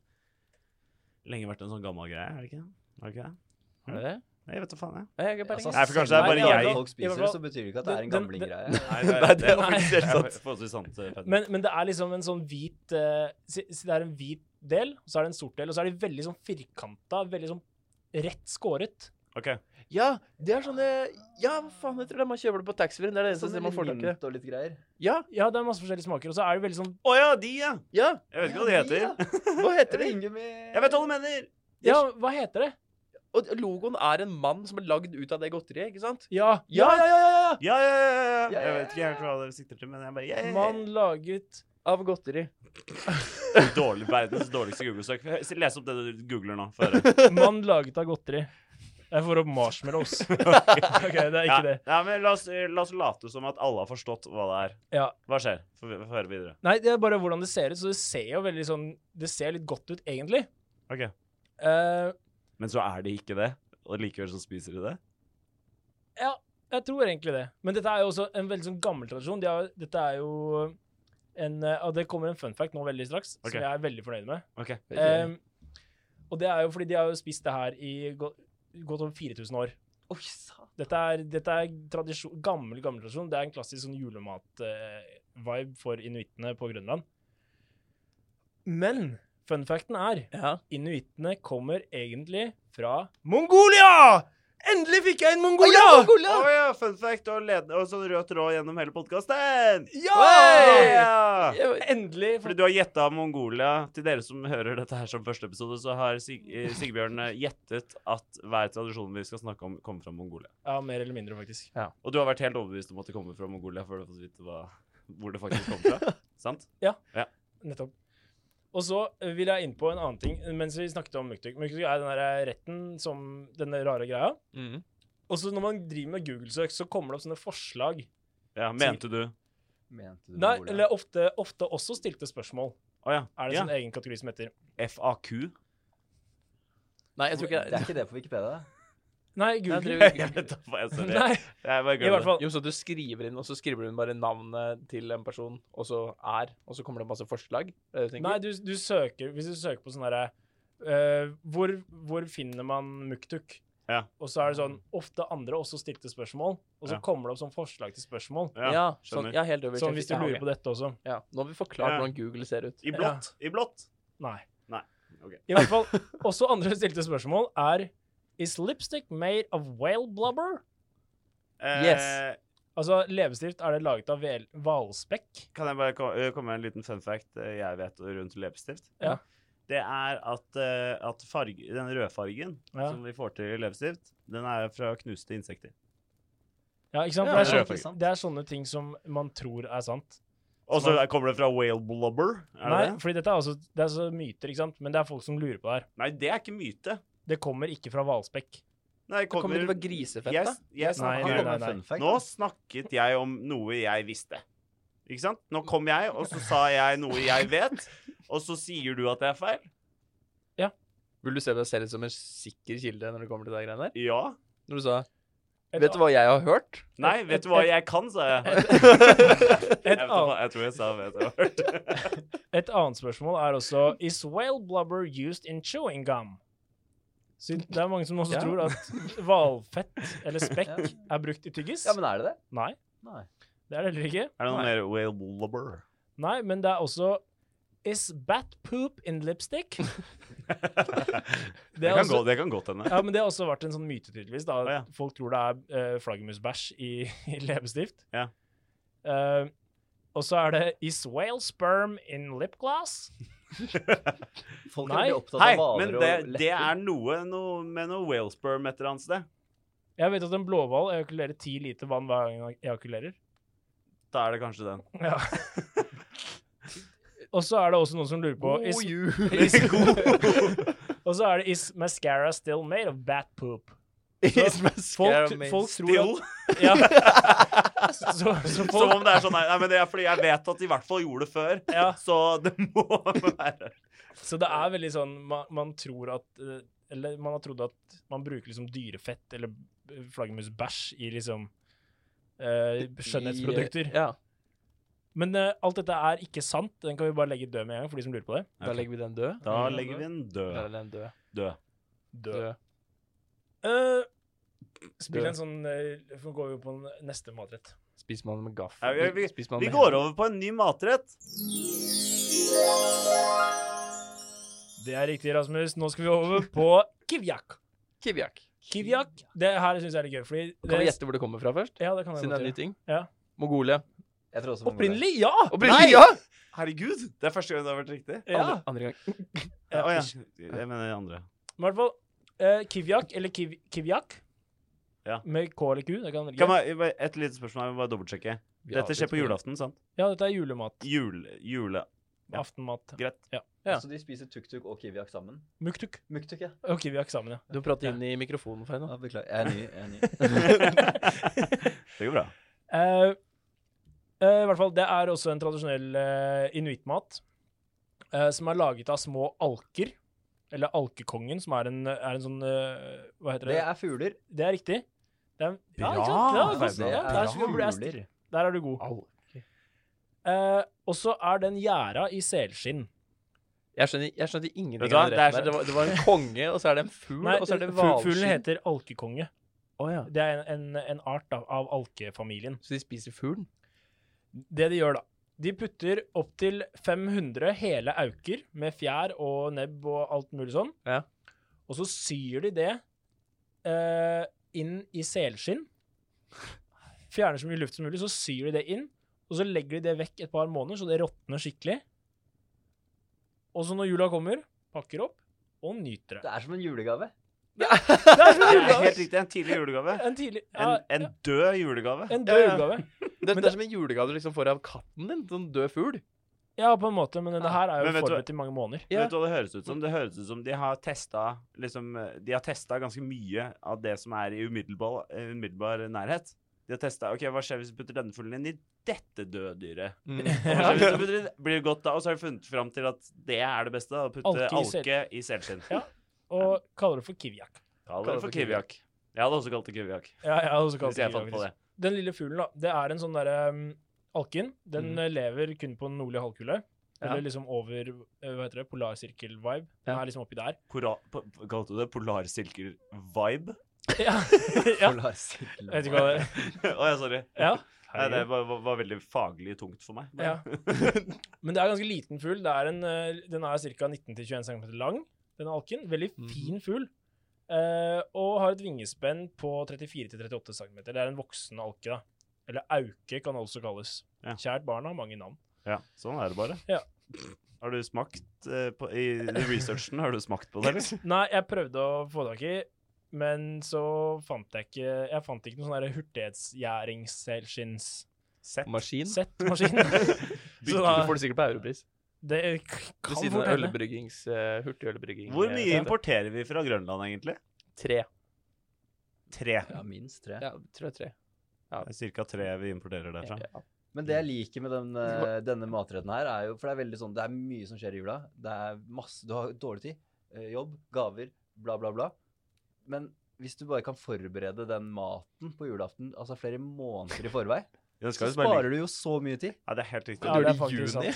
[SPEAKER 4] lenge vært en sånn gammel greie, er det ikke det? Er det ikke det?
[SPEAKER 3] Er det det?
[SPEAKER 4] Nei, Jeg vet da faen, jeg.
[SPEAKER 3] Jeg har ikke peiling.
[SPEAKER 1] Altså,
[SPEAKER 4] Nei, for kanskje det er
[SPEAKER 1] selv om
[SPEAKER 4] bare jeg.
[SPEAKER 1] Folk
[SPEAKER 2] I hvert
[SPEAKER 1] spiser det,
[SPEAKER 2] fall-
[SPEAKER 1] så betyr det ikke at det er en
[SPEAKER 2] den- den-
[SPEAKER 1] gamlinggreie.
[SPEAKER 4] Nei,
[SPEAKER 3] (laughs) Nei, det er
[SPEAKER 4] Nei.
[SPEAKER 3] faktisk helt sant.
[SPEAKER 4] Det er Forholdsvis sant, eh, Petter.
[SPEAKER 2] Men, men det er liksom en sånn hvit eh, si, si Det er en hvit del, og så er det en sort del, og så er de veldig sånn firkanta, veldig sånn rett skåret.
[SPEAKER 4] OK.
[SPEAKER 3] Ja, det er sånne Ja, hva faen heter det? Man kjøper det på taxfree-en. Det er det eneste
[SPEAKER 1] Sånn
[SPEAKER 3] stedet man får tak i det.
[SPEAKER 1] og litt greier.
[SPEAKER 3] Ja,
[SPEAKER 2] Ja, det er masse forskjellige smaker, og så er det veldig sånn
[SPEAKER 4] Å ja, de, ja!
[SPEAKER 3] ja!
[SPEAKER 4] Jeg vet ikke hva de heter.
[SPEAKER 3] Hva (laughs) heter det?
[SPEAKER 1] Vingummi
[SPEAKER 4] Jeg vet hva du mener!
[SPEAKER 2] Ja, hva heter det?
[SPEAKER 3] Og logoen er en mann som er lagd ut av det godteriet, ikke sant?
[SPEAKER 2] Ja.
[SPEAKER 3] Ja, ja, ja! ja, ja.
[SPEAKER 4] Ja, ja, ja, ja, ja.
[SPEAKER 1] Ja,
[SPEAKER 4] Jeg
[SPEAKER 1] ja,
[SPEAKER 4] vet ikke helt hva dere sikter til, men jeg bare ja, ja, (laughs)
[SPEAKER 2] Man laget
[SPEAKER 3] Av godteri.
[SPEAKER 4] ja. Dårlig, Verdens dårligste Google-søk. Les opp det du googler nå.
[SPEAKER 2] (laughs)
[SPEAKER 4] For å høre.
[SPEAKER 2] Man laget av godteri. Jeg får opp
[SPEAKER 3] (laughs)
[SPEAKER 2] marshmallows. OK, det er
[SPEAKER 4] ja.
[SPEAKER 2] ikke det.
[SPEAKER 4] Ja, men la oss, la oss late som at alle har forstått hva det er.
[SPEAKER 2] Ja.
[SPEAKER 4] Hva skjer? Få vi- få høre videre.
[SPEAKER 2] Nei, det er bare hvordan det ser ut, så det ser jo veldig sånn Det ser litt godt ut, egentlig.
[SPEAKER 4] OK.
[SPEAKER 2] Eh,
[SPEAKER 4] Men så er det ikke det, og likevel så spiser de det.
[SPEAKER 2] Ja, jeg tror egentlig det. Men dette er jo også en veldig sånn gammel tradisjon. De har, dette er jo en eh, Og det kommer en fun fact nå veldig straks,
[SPEAKER 4] Ok.
[SPEAKER 2] som jeg er veldig fornøyd med.
[SPEAKER 4] Ok.
[SPEAKER 2] Ehm, og det er jo fordi de har jo spist det her i gå- godt over 4000 år.
[SPEAKER 1] Oi, sa.
[SPEAKER 2] Dette er, dette er tradisjon, gammel, gammel tradisjon. Det er en klassisk sånn julemat-vibe for inuittene på Grønland. Men fun facten er
[SPEAKER 3] Ja.
[SPEAKER 2] inuittene kommer egentlig fra Mongolia! Endelig fikk jeg inn Mongolia!
[SPEAKER 4] Å ja, fun fact og, ledende, og sånn rød tråd gjennom hele podkasten!
[SPEAKER 2] Ja! Endelig.
[SPEAKER 4] Fordi du har gjetta Mongolia. Til dere som hører dette her som første episode, så har Sig eh, Sigbjørn eh, gjettet at hver tradisjon vi skal snakke om, kommer fra Mongolia.
[SPEAKER 2] Ja, mer eller mindre, faktisk.
[SPEAKER 4] Og du har vært helt overbevist om at det kommer fra Mongolia før du har fått vite hva, hvor det faktisk kommer
[SPEAKER 2] (laughs)
[SPEAKER 4] fra. Sant?
[SPEAKER 2] Nettopp. Og så vil jeg inn på en annen ting mens vi snakket om muktuk. Muktuk er den der retten som denne rare greia.
[SPEAKER 3] Mhm.
[SPEAKER 2] Og så når man driver med Google-søk, så kommer det opp sånne forslag.
[SPEAKER 4] Ja, mente du Å
[SPEAKER 1] Mente du
[SPEAKER 2] Nei,
[SPEAKER 1] Mongolia?
[SPEAKER 2] eller ofte, ofte også stilte spørsmål.
[SPEAKER 4] ja.
[SPEAKER 2] Er det en
[SPEAKER 4] ja.
[SPEAKER 2] sånn egen kategori som heter
[SPEAKER 4] FAQ?
[SPEAKER 3] Nei, jeg tror ikke
[SPEAKER 1] Det
[SPEAKER 3] det.
[SPEAKER 1] er ikke det på Wikipedia.
[SPEAKER 2] Nei,
[SPEAKER 3] Nei,
[SPEAKER 2] Google. (laughs)
[SPEAKER 3] jeg
[SPEAKER 4] (laughs) Jeg
[SPEAKER 3] tror
[SPEAKER 4] vet da faen, jeg sorry.
[SPEAKER 2] Nei,
[SPEAKER 4] Jeg bare
[SPEAKER 2] i hvert
[SPEAKER 4] glemmer det.
[SPEAKER 2] fall.
[SPEAKER 3] Jo, så du skriver inn, og så skriver du bare navnet til en person, og så er, og så kommer det masse forslag? Er det det du
[SPEAKER 2] Nei,
[SPEAKER 3] tenker?
[SPEAKER 2] du, du søker Hvis du søker på sånn derre eh, hvor, hvor finner man muktuk?
[SPEAKER 4] Ja.
[SPEAKER 2] Og så er det sånn Ofte andre også stilte spørsmål, og så
[SPEAKER 4] Ja.
[SPEAKER 2] kommer det opp sånn forslag til spørsmål.
[SPEAKER 4] Ja,
[SPEAKER 3] ja, sånn,
[SPEAKER 4] skjønner.
[SPEAKER 3] ja, helt øverst.
[SPEAKER 2] Sånn hvis du
[SPEAKER 3] ja,
[SPEAKER 2] lurer
[SPEAKER 3] ok.
[SPEAKER 2] på dette også.
[SPEAKER 3] Ja, nå har vi forklart
[SPEAKER 4] Ja.
[SPEAKER 3] hvordan Google ser ut.
[SPEAKER 4] I blått. I blått.
[SPEAKER 2] Nei.
[SPEAKER 4] Nei, ok.
[SPEAKER 2] I hvert fall, også andre stilte spørsmål er Is lipstick made of whale blubber?
[SPEAKER 4] Eh,
[SPEAKER 3] Yes.
[SPEAKER 2] Altså, levestift, er det laget av vel- hvalspekk?
[SPEAKER 4] Kan jeg bare ko- eh, komme med en liten fun fact eh, jeg vet rundt leppestift?
[SPEAKER 2] Ja.
[SPEAKER 4] Det er at, eh, at farge, den rødfargen
[SPEAKER 2] Ja.
[SPEAKER 4] som vi får til i leppestift, den er fra knuste insekter.
[SPEAKER 2] Ja, ikke sant?
[SPEAKER 1] Ja,
[SPEAKER 2] For det,
[SPEAKER 4] det er
[SPEAKER 2] er sånne,
[SPEAKER 1] sant.
[SPEAKER 2] det er sånne ting som man tror er sant.
[SPEAKER 4] Og så
[SPEAKER 2] Smart.
[SPEAKER 4] kommer det fra whale blubber? Er
[SPEAKER 2] Nei,
[SPEAKER 4] det? det?
[SPEAKER 2] fordi dette er, altså, det er så myter, ikke sant? Men det er folk som lurer på det her.
[SPEAKER 4] Nei, det er ikke myte.
[SPEAKER 2] Det kommer ikke fra hvalspekk.
[SPEAKER 4] Nei, det
[SPEAKER 3] Kommer det fra
[SPEAKER 4] Jeg,
[SPEAKER 3] grisefett, da?
[SPEAKER 4] jeg
[SPEAKER 2] Nei,
[SPEAKER 4] snakker
[SPEAKER 2] nei,
[SPEAKER 4] om-
[SPEAKER 2] nei.
[SPEAKER 4] Nå snakket jeg om noe jeg visste. Ikke sant? Nå kom jeg, og så sa jeg noe jeg vet, og så sier du at det er feil?
[SPEAKER 3] Vil du se deg selv som en sikker kilde når det kommer til de greiene der?
[SPEAKER 4] Ja.
[SPEAKER 3] Når du sa Vet du hva jeg har hørt?
[SPEAKER 4] Nei, vet du hva jeg kan, sa (laughs) jeg. Jeg,
[SPEAKER 2] Et,
[SPEAKER 4] vet
[SPEAKER 2] annet,
[SPEAKER 4] hva, jeg tror jeg sa vet du hva (laughs) jeg har hørt.
[SPEAKER 2] et annet spørsmål er også Is whale blubber used in chewing gum? Så det er mange som også
[SPEAKER 1] Ja.
[SPEAKER 2] tror at hvalfett eller spekk
[SPEAKER 1] Ja.
[SPEAKER 2] er brukt i tyggis.
[SPEAKER 1] Ja, men er det det?
[SPEAKER 2] Nei,
[SPEAKER 1] Nei.
[SPEAKER 2] det er det heller ikke.
[SPEAKER 4] Er det noe
[SPEAKER 1] Nei.
[SPEAKER 4] mer whale blubber? (laughs)
[SPEAKER 2] Nei, men det er også Is bat poop in
[SPEAKER 4] (laughs)
[SPEAKER 2] lipstick?
[SPEAKER 4] Det, kan
[SPEAKER 2] også-
[SPEAKER 4] gå- det kan godt hende.
[SPEAKER 2] (laughs) Ja, men det har også vært en sånn myte, tydeligvis. da.
[SPEAKER 4] Å, ja.
[SPEAKER 2] Folk tror det er uh, flaggermusbæsj i, (laughs) i leppestift.
[SPEAKER 4] Ja.
[SPEAKER 2] Eh, og så er det Is whale sperm in lip gloss?
[SPEAKER 1] Folk er
[SPEAKER 2] Nei.
[SPEAKER 1] veldig opptatt
[SPEAKER 4] Hei,
[SPEAKER 1] av
[SPEAKER 4] men
[SPEAKER 1] hvaler
[SPEAKER 4] det,
[SPEAKER 1] og
[SPEAKER 4] det
[SPEAKER 1] lepper.
[SPEAKER 4] er noe, noe med noe whalesperm et eller annet sted.
[SPEAKER 2] Jeg vet at en blåhval ejakulerer ti liter vann hver gang den ejakulerer.
[SPEAKER 4] Da er det kanskje (laughs) den.
[SPEAKER 2] Ja. og så er det også noen som lurer på
[SPEAKER 3] Oh,
[SPEAKER 2] is, (laughs)
[SPEAKER 3] jul!
[SPEAKER 4] (laughs)
[SPEAKER 2] Og så er det Is mascara still made of bat
[SPEAKER 4] (laughs)
[SPEAKER 2] poop?
[SPEAKER 3] Mascara
[SPEAKER 2] Folk,
[SPEAKER 3] made
[SPEAKER 2] folk tror
[SPEAKER 4] Still.
[SPEAKER 2] at ja. så, så, så
[SPEAKER 4] (laughs)
[SPEAKER 2] folk,
[SPEAKER 4] Som om det er sånn Nei, nei, men det er fordi jeg vet at de i hvert fall gjorde det før, (laughs)
[SPEAKER 2] ja.
[SPEAKER 4] så det må (laughs) være
[SPEAKER 2] Så det er veldig sånn man, man tror at eh, Eller man har trodd at man bruker liksom dyrefett eller eh, flaggermusbæsj i liksom eh, skjønnhetsprodukter.
[SPEAKER 3] Ja,
[SPEAKER 2] Men eh, alt dette er ikke sant. Den kan vi bare legge død med en gang for de som lurer på det.
[SPEAKER 3] da legger vi den død.
[SPEAKER 4] Da legger vi den
[SPEAKER 3] Da
[SPEAKER 4] død.
[SPEAKER 3] er den død.
[SPEAKER 4] død.
[SPEAKER 3] død.
[SPEAKER 2] Eh, spill
[SPEAKER 3] Død.
[SPEAKER 2] en sånn eh, Så går vi på en neste matrett.
[SPEAKER 3] Spiser man med
[SPEAKER 4] Ja, vi-
[SPEAKER 3] gaffel? Spiser man
[SPEAKER 4] Vi
[SPEAKER 3] med
[SPEAKER 4] går over på en ny matrett.
[SPEAKER 2] Det er riktig, Rasmus. Nå skal vi
[SPEAKER 3] (laughs)
[SPEAKER 2] over på kivjak.
[SPEAKER 3] Kivjak.
[SPEAKER 2] Kivjak. Det her syns jeg er litt gøy, fordi
[SPEAKER 3] Kan vi
[SPEAKER 2] det-
[SPEAKER 3] gjette hvor det kommer fra først?
[SPEAKER 2] Ja, det kan jeg
[SPEAKER 3] Siden det er en ny
[SPEAKER 2] godt gjøre.
[SPEAKER 3] ting.
[SPEAKER 2] Ja.
[SPEAKER 3] Mongolia.
[SPEAKER 1] Jeg tror også Mongolia.
[SPEAKER 2] Opprinnelig, ja!
[SPEAKER 3] Opprinnelig, ja!
[SPEAKER 4] Herregud, det er første gang det har vært riktig.
[SPEAKER 2] ja.
[SPEAKER 3] Andre, andre gang.
[SPEAKER 4] Å ja. Jeg mener den andre.
[SPEAKER 2] Men i hvert fall eh, Kivjak, eller kiv, Kivjak.
[SPEAKER 4] Ja.
[SPEAKER 2] Med K eller Q. Det kan man velge.
[SPEAKER 4] Kan man, bare et lite spørsmål, jeg må bare dobbeltsjekke.
[SPEAKER 3] Vi
[SPEAKER 4] Dette
[SPEAKER 3] avbryter
[SPEAKER 4] skjer på
[SPEAKER 3] det.
[SPEAKER 4] julaften, sant?
[SPEAKER 2] Ja, dette er julemat.
[SPEAKER 4] Jul, jule... Ja.
[SPEAKER 2] Aftenmat.
[SPEAKER 4] Greit.
[SPEAKER 2] (laughs)
[SPEAKER 3] Ja.
[SPEAKER 1] Så de spiser tuk-tuk og kiwiak sammen?
[SPEAKER 2] Muktuk
[SPEAKER 1] Muktuk, ja.
[SPEAKER 2] og Kivjak sammen, ja.
[SPEAKER 3] Du prater inn i mikrofonen for henne.
[SPEAKER 1] ja. Beklager. Jeg er ny. Jeg er (laughs) ny.
[SPEAKER 4] det går bra.
[SPEAKER 2] Eh, eh, I hvert fall, det er også en tradisjonell eh, inuittmat eh, som er laget av små alker. Eller alkekongen, som er en, er en sånn eh, Hva heter det?
[SPEAKER 1] Det er fugler.
[SPEAKER 2] Det er riktig. Det er, ja,
[SPEAKER 4] Bra,
[SPEAKER 2] ikke sant? Ja, det er
[SPEAKER 4] Fabio.
[SPEAKER 2] godt, ja,
[SPEAKER 4] Det er
[SPEAKER 2] der skulle du bli ast.
[SPEAKER 1] fugler.
[SPEAKER 2] Der er du god.
[SPEAKER 3] Au.
[SPEAKER 2] Eh, og så er den gjerda i selskinn.
[SPEAKER 3] Jeg skjønner, jeg skjønner
[SPEAKER 4] Vet
[SPEAKER 3] ingenting
[SPEAKER 4] du hva?
[SPEAKER 3] av den
[SPEAKER 4] Det er
[SPEAKER 3] retten
[SPEAKER 4] så-
[SPEAKER 3] her. Det var, det var en konge, og så er det en fugl,
[SPEAKER 2] Nei,
[SPEAKER 3] og så er det
[SPEAKER 2] fu- fuglen
[SPEAKER 3] hvalskinn.
[SPEAKER 2] heter alkekonge.
[SPEAKER 3] Å ja.
[SPEAKER 2] Det er en, en, en art da, av alkefamilien.
[SPEAKER 3] Så de spiser fuglen?
[SPEAKER 2] Det de gjør, da De putter opptil 500 hele auker med fjær og nebb og alt mulig sånn.
[SPEAKER 3] Ja.
[SPEAKER 2] Og så syr de det eh, inn i selskinn. Fjerner så mye luft som mulig, så syr de det inn. Og så legger de det vekk et par måneder, så det råtner skikkelig. Og så når jula kommer, pakker opp og nyter
[SPEAKER 3] (laughs)
[SPEAKER 2] det.
[SPEAKER 1] Det er som en julegave.
[SPEAKER 2] Det er som
[SPEAKER 4] Det
[SPEAKER 2] en
[SPEAKER 4] er
[SPEAKER 2] julegave!
[SPEAKER 4] helt riktig. En tidlig julegave.
[SPEAKER 2] En tidlig ja,
[SPEAKER 4] En, en død julegave.
[SPEAKER 2] en
[SPEAKER 3] Ja,
[SPEAKER 2] død
[SPEAKER 3] ja.
[SPEAKER 2] julegave.
[SPEAKER 3] Det,
[SPEAKER 2] Men
[SPEAKER 3] det er som en julegave du liksom får av katten din. Sånn død fugl.
[SPEAKER 2] Ja, på en måte, men denne her er jo
[SPEAKER 4] Men vet du hva-
[SPEAKER 2] forberedt i mange måneder.
[SPEAKER 3] Ja.
[SPEAKER 4] Vet du hva det høres ut som? Det høres ut som de har testa liksom, De har testa ganske mye av det som er i umiddelbar, umiddelbar nærhet. De har testa OK, hva skjer hvis vi putter denne fuglen inn i dette døde dyret?
[SPEAKER 3] Mm. (laughs)
[SPEAKER 4] Og hva skjer (laughs) hvis vi putter- Blir det godt da? Og så har de funnet fram til at det er det beste. da, Å putte
[SPEAKER 2] Alke i sel-
[SPEAKER 4] alke i selskinn.
[SPEAKER 2] Ja. Og kaller det for kiwiak.
[SPEAKER 4] Kall det for kiwiak. Jeg hadde også kalt det kiwiak.
[SPEAKER 2] Ja, jeg har også kalt
[SPEAKER 4] Hvis
[SPEAKER 2] det
[SPEAKER 4] jeg fant
[SPEAKER 2] kiwiak.
[SPEAKER 4] på det.
[SPEAKER 2] Den lille fuglen, da. Det er en sånn derre um, alkin. Den
[SPEAKER 3] Mhm.
[SPEAKER 2] eh, lever kun på den nordlige halvkule.
[SPEAKER 4] Ja.
[SPEAKER 2] Eller liksom over eh, hva heter det, polarsirkel-vibe. Den
[SPEAKER 3] Ja.
[SPEAKER 2] er liksom oppi der.
[SPEAKER 4] Pora, po- po- kalte du det polarsilker-vibe? (laughs)
[SPEAKER 2] Ja. (laughs) ja.
[SPEAKER 1] Polarsirkel.
[SPEAKER 2] Jeg vet ikke hva det er.
[SPEAKER 4] Å ja, sorry.
[SPEAKER 2] Ja.
[SPEAKER 4] Nei, det var, var, var veldig faglig tungt for meg.
[SPEAKER 2] Ja. Men det er en ganske liten fugl. Det er en, eh, den er ca. 19-21 cm lang, denne alken. Veldig fin fugl. Eh, og har et vingespenn på 34-38 cm. Det er en voksen alke, da. Eller auke, kan det også kalles.
[SPEAKER 4] Ja.
[SPEAKER 2] Kjært barn har mange navn.
[SPEAKER 4] (laughs) Ja, sånn er det bare.
[SPEAKER 2] Ja.
[SPEAKER 4] Har du smakt eh, på, I researchen, har du smakt på det, eller?
[SPEAKER 2] Nei, jeg prøvde å få tak i, men så fant jeg ikke Jeg fant ikke noen sånn der hurtighetsgjæringsselskinnssett-maskin.
[SPEAKER 4] (laughs) Sett.
[SPEAKER 3] sånn
[SPEAKER 4] (laughs)
[SPEAKER 3] Maskin.
[SPEAKER 2] Så
[SPEAKER 3] Du
[SPEAKER 2] da-
[SPEAKER 3] får det sikkert på europris.
[SPEAKER 2] det k-
[SPEAKER 3] Ved
[SPEAKER 2] kan
[SPEAKER 3] siden
[SPEAKER 2] fort
[SPEAKER 3] av
[SPEAKER 2] hende.
[SPEAKER 3] ølbryggings, eh, hurtigølbrygging.
[SPEAKER 4] Hvor
[SPEAKER 3] eh,
[SPEAKER 4] mye
[SPEAKER 3] dette.
[SPEAKER 4] importerer vi fra Grønland, egentlig?
[SPEAKER 3] Tre.
[SPEAKER 4] Tre.
[SPEAKER 1] Ja, minst tre.
[SPEAKER 3] Ja, tror jeg tre.
[SPEAKER 4] Det er Cirka tre vi importerer derfra.
[SPEAKER 3] Ja.
[SPEAKER 1] Men det jeg liker med den, eh, denne matretten her, er jo For det er veldig sånn, det er mye som skjer i jula. Det er masse Du har dårlig tid. eh, Jobb, gaver, bla, bla, bla. Men hvis du bare kan forberede den maten på julaften altså flere måneder i forvei,
[SPEAKER 4] Den
[SPEAKER 1] så
[SPEAKER 4] skal jo bare
[SPEAKER 1] sparer
[SPEAKER 4] ligge-
[SPEAKER 1] du jo så mye tid.
[SPEAKER 4] Ja, det er helt riktig.
[SPEAKER 2] Ja, det er faktisk
[SPEAKER 4] (laughs)
[SPEAKER 2] sant.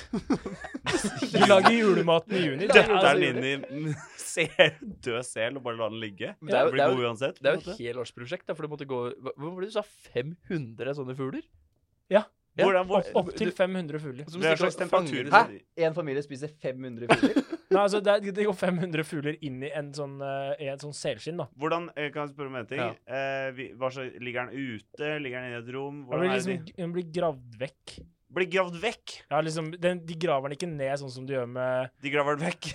[SPEAKER 2] Du lager julematen i juni. det er-
[SPEAKER 4] Døtter
[SPEAKER 2] altså,
[SPEAKER 4] den inn (laughs) i sel, død sel og bare lar den ligge.
[SPEAKER 3] Men det er jo-
[SPEAKER 4] blir
[SPEAKER 3] det er
[SPEAKER 4] god uansett.
[SPEAKER 3] Det er
[SPEAKER 4] på
[SPEAKER 3] jo
[SPEAKER 4] en
[SPEAKER 3] et helårsprosjekt, da, for du måte gå Hva hva var det du sa? 500 sånne fugler?
[SPEAKER 4] måte. Hvordan, hvor,
[SPEAKER 2] Opp, opp til 500 fugler.
[SPEAKER 3] Som
[SPEAKER 4] hva
[SPEAKER 3] stikker
[SPEAKER 4] slags
[SPEAKER 3] og fanger
[SPEAKER 4] temperatur
[SPEAKER 3] disse-
[SPEAKER 1] Hæ? En familie spiser 500 fugler.
[SPEAKER 4] (laughs)
[SPEAKER 2] Nei, altså, det, er- det går 500 fugler inn i en sånn, eh, i en sånn selskinn, da.
[SPEAKER 4] hvordan eh, Kan jeg spørre om en ting?
[SPEAKER 3] Ja.
[SPEAKER 4] Eh, vi, hva slags, ligger den ute? Ligger den i et rom?
[SPEAKER 2] Den
[SPEAKER 4] Hvordan
[SPEAKER 2] blir,
[SPEAKER 4] er det
[SPEAKER 2] liksom, den blir gravd vekk.
[SPEAKER 4] de Blir gravd vekk!
[SPEAKER 2] Ja, liksom, den, de graver den ikke ned sånn som de gjør med
[SPEAKER 4] De graver den vekk.
[SPEAKER 2] (laughs)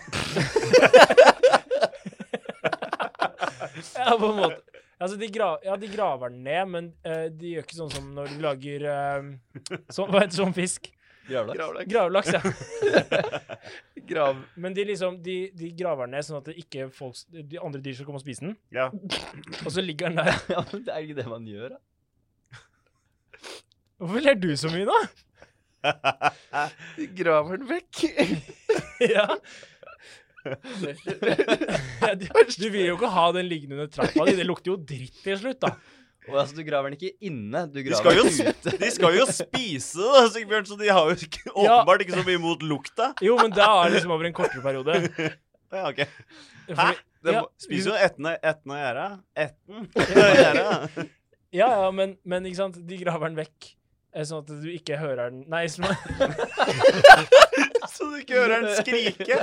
[SPEAKER 2] Ja, på en måte. Altså, de, gra, ja, de graver den ned, men eh, de gjør ikke sånn som når de lager eh, sånn, Hva heter sånn fisk?
[SPEAKER 1] Gravlaks.
[SPEAKER 3] Gravlaks.
[SPEAKER 2] Gravlaks, ja.
[SPEAKER 3] Grav.
[SPEAKER 2] Men de liksom, de, de graver den ned sånn at det ikke folk, de andre dyr skal komme og spise den.
[SPEAKER 4] Ja. (laughs)
[SPEAKER 2] Og så ligger den der.
[SPEAKER 1] Ja, men det er ikke det man gjør, da.
[SPEAKER 2] Hvorfor ler du så mye nå?
[SPEAKER 3] De graver den vekk.
[SPEAKER 2] Ja. Ja, du, du vil jo ikke ha den liggende under trappa di. Det lukter jo dritt til slutt, da.
[SPEAKER 1] Og altså, du graver den ikke inne, du
[SPEAKER 4] De skal,
[SPEAKER 1] graver
[SPEAKER 4] jo,
[SPEAKER 1] den ute.
[SPEAKER 4] de skal jo spise det, Sigbjørn, så de har jo ikke,
[SPEAKER 2] Ja.
[SPEAKER 4] åpenbart ikke så mye imot lukta.
[SPEAKER 2] Jo, men da er det liksom over en kortere periode.
[SPEAKER 4] Ja, ok.
[SPEAKER 2] Fordi-
[SPEAKER 4] Det
[SPEAKER 2] Ja,
[SPEAKER 4] må- Spiser jo ettene etten av gjerdet. (laughs) Etten av gjerdet.
[SPEAKER 2] Ja, ja, men, men ikke sant, de graver den vekk. eh, Sånn at du ikke hører den Nei, sånn at
[SPEAKER 4] Så du ikke hører den skrike.
[SPEAKER 2] (laughs)